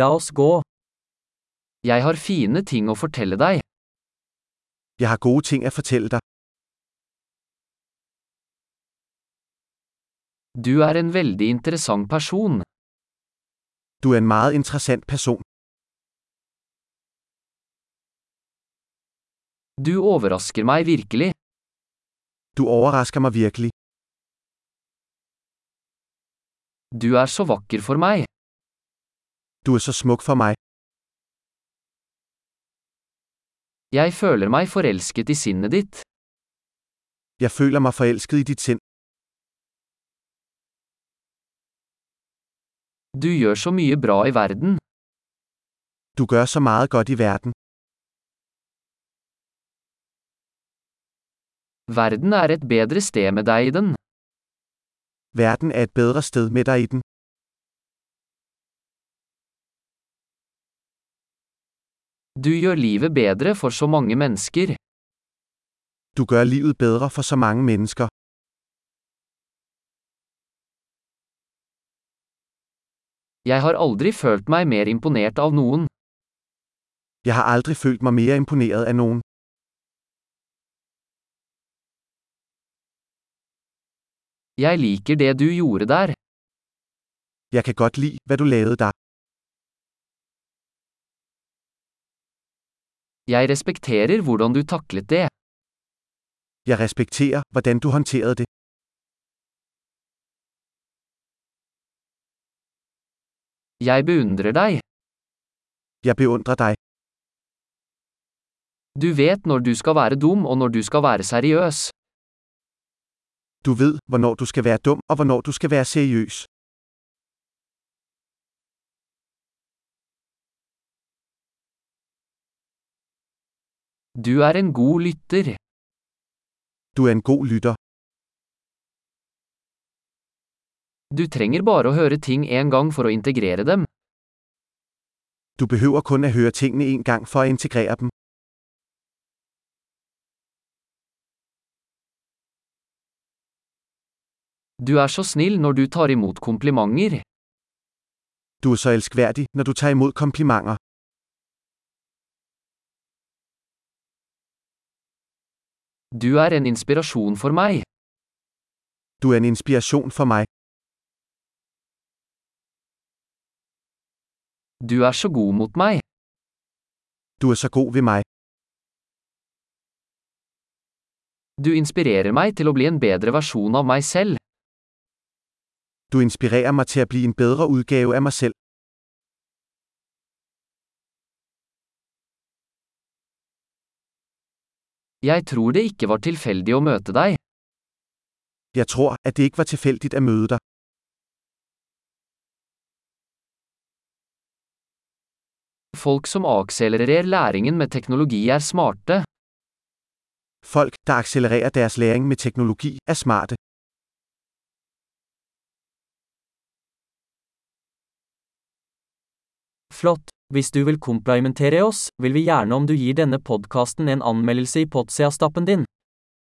La oss gå. Jeg har fine ting å fortelle deg. Jeg har gode ting at fortælle dig. Du er en veldig interessant person. Du er en meget interessant person. Du overrasker meg virkelig. Du overrasker mig virkelig. Du er så vakker for meg. Du er så smuk for mig. Jeg føler meg forelsket i sinnet ditt. Jeg føler mig forelsket i dit sind. Du gjør så mye bra i verden. Du gør så meget godt i verden. Verden er et bedre sted med deg i den. Verden er et bedre sted med dig i den. Du gjør livet bedre for så mange mennesker. Du gør livet bedre for så mange mennesker. Jeg har aldri følt meg mer imponert av noen. Jeg har aldrig følt mig mere imponeret af nogen. Jeg liker det du gjorde der. Jeg kan godt lide, hvad du lavede der. Jeg respekterer hvordan du taklet det. Jeg respekterer, hvordan du håndterede det. Jeg beundrer deg. Jeg beundrer dig. Du vet når du skal være dum og når du skal være seriøs. Du ved, hvornår du skal være dum og hvornår du skal være seriøs. Du er en god lytter. Du er en god lytter. Du trenger bare å høre ting en gang for å integrere dem. Du behøver kun at høre tingene en gang for at integrere dem. Du er så snill når du tar imot komplimenter. Du er så elskværdig, når du tager imod komplimenter. Du er en inspirasjon for meg. Du er en inspiration for mig. Du er så god mot meg. Du er så god ved mig. Du inspirerer meg til å bli en bedre versjon av meg selv. Du inspirerer mig til at blive en bedre udgave af mig selv. Jeg tror det ikke var tilfeldig å møte deg. Jeg tror, at det ikke var tilfældigt at møde dig. Folk som akselererer læringen med teknologi er smarte. Folk, der accelererer deres læring med teknologi, er smarte. Flott! Hvis du vil komplimentere oss, vil vi gjerne om du gir denne podkasten en anmeldelse i Potsia-stappen din.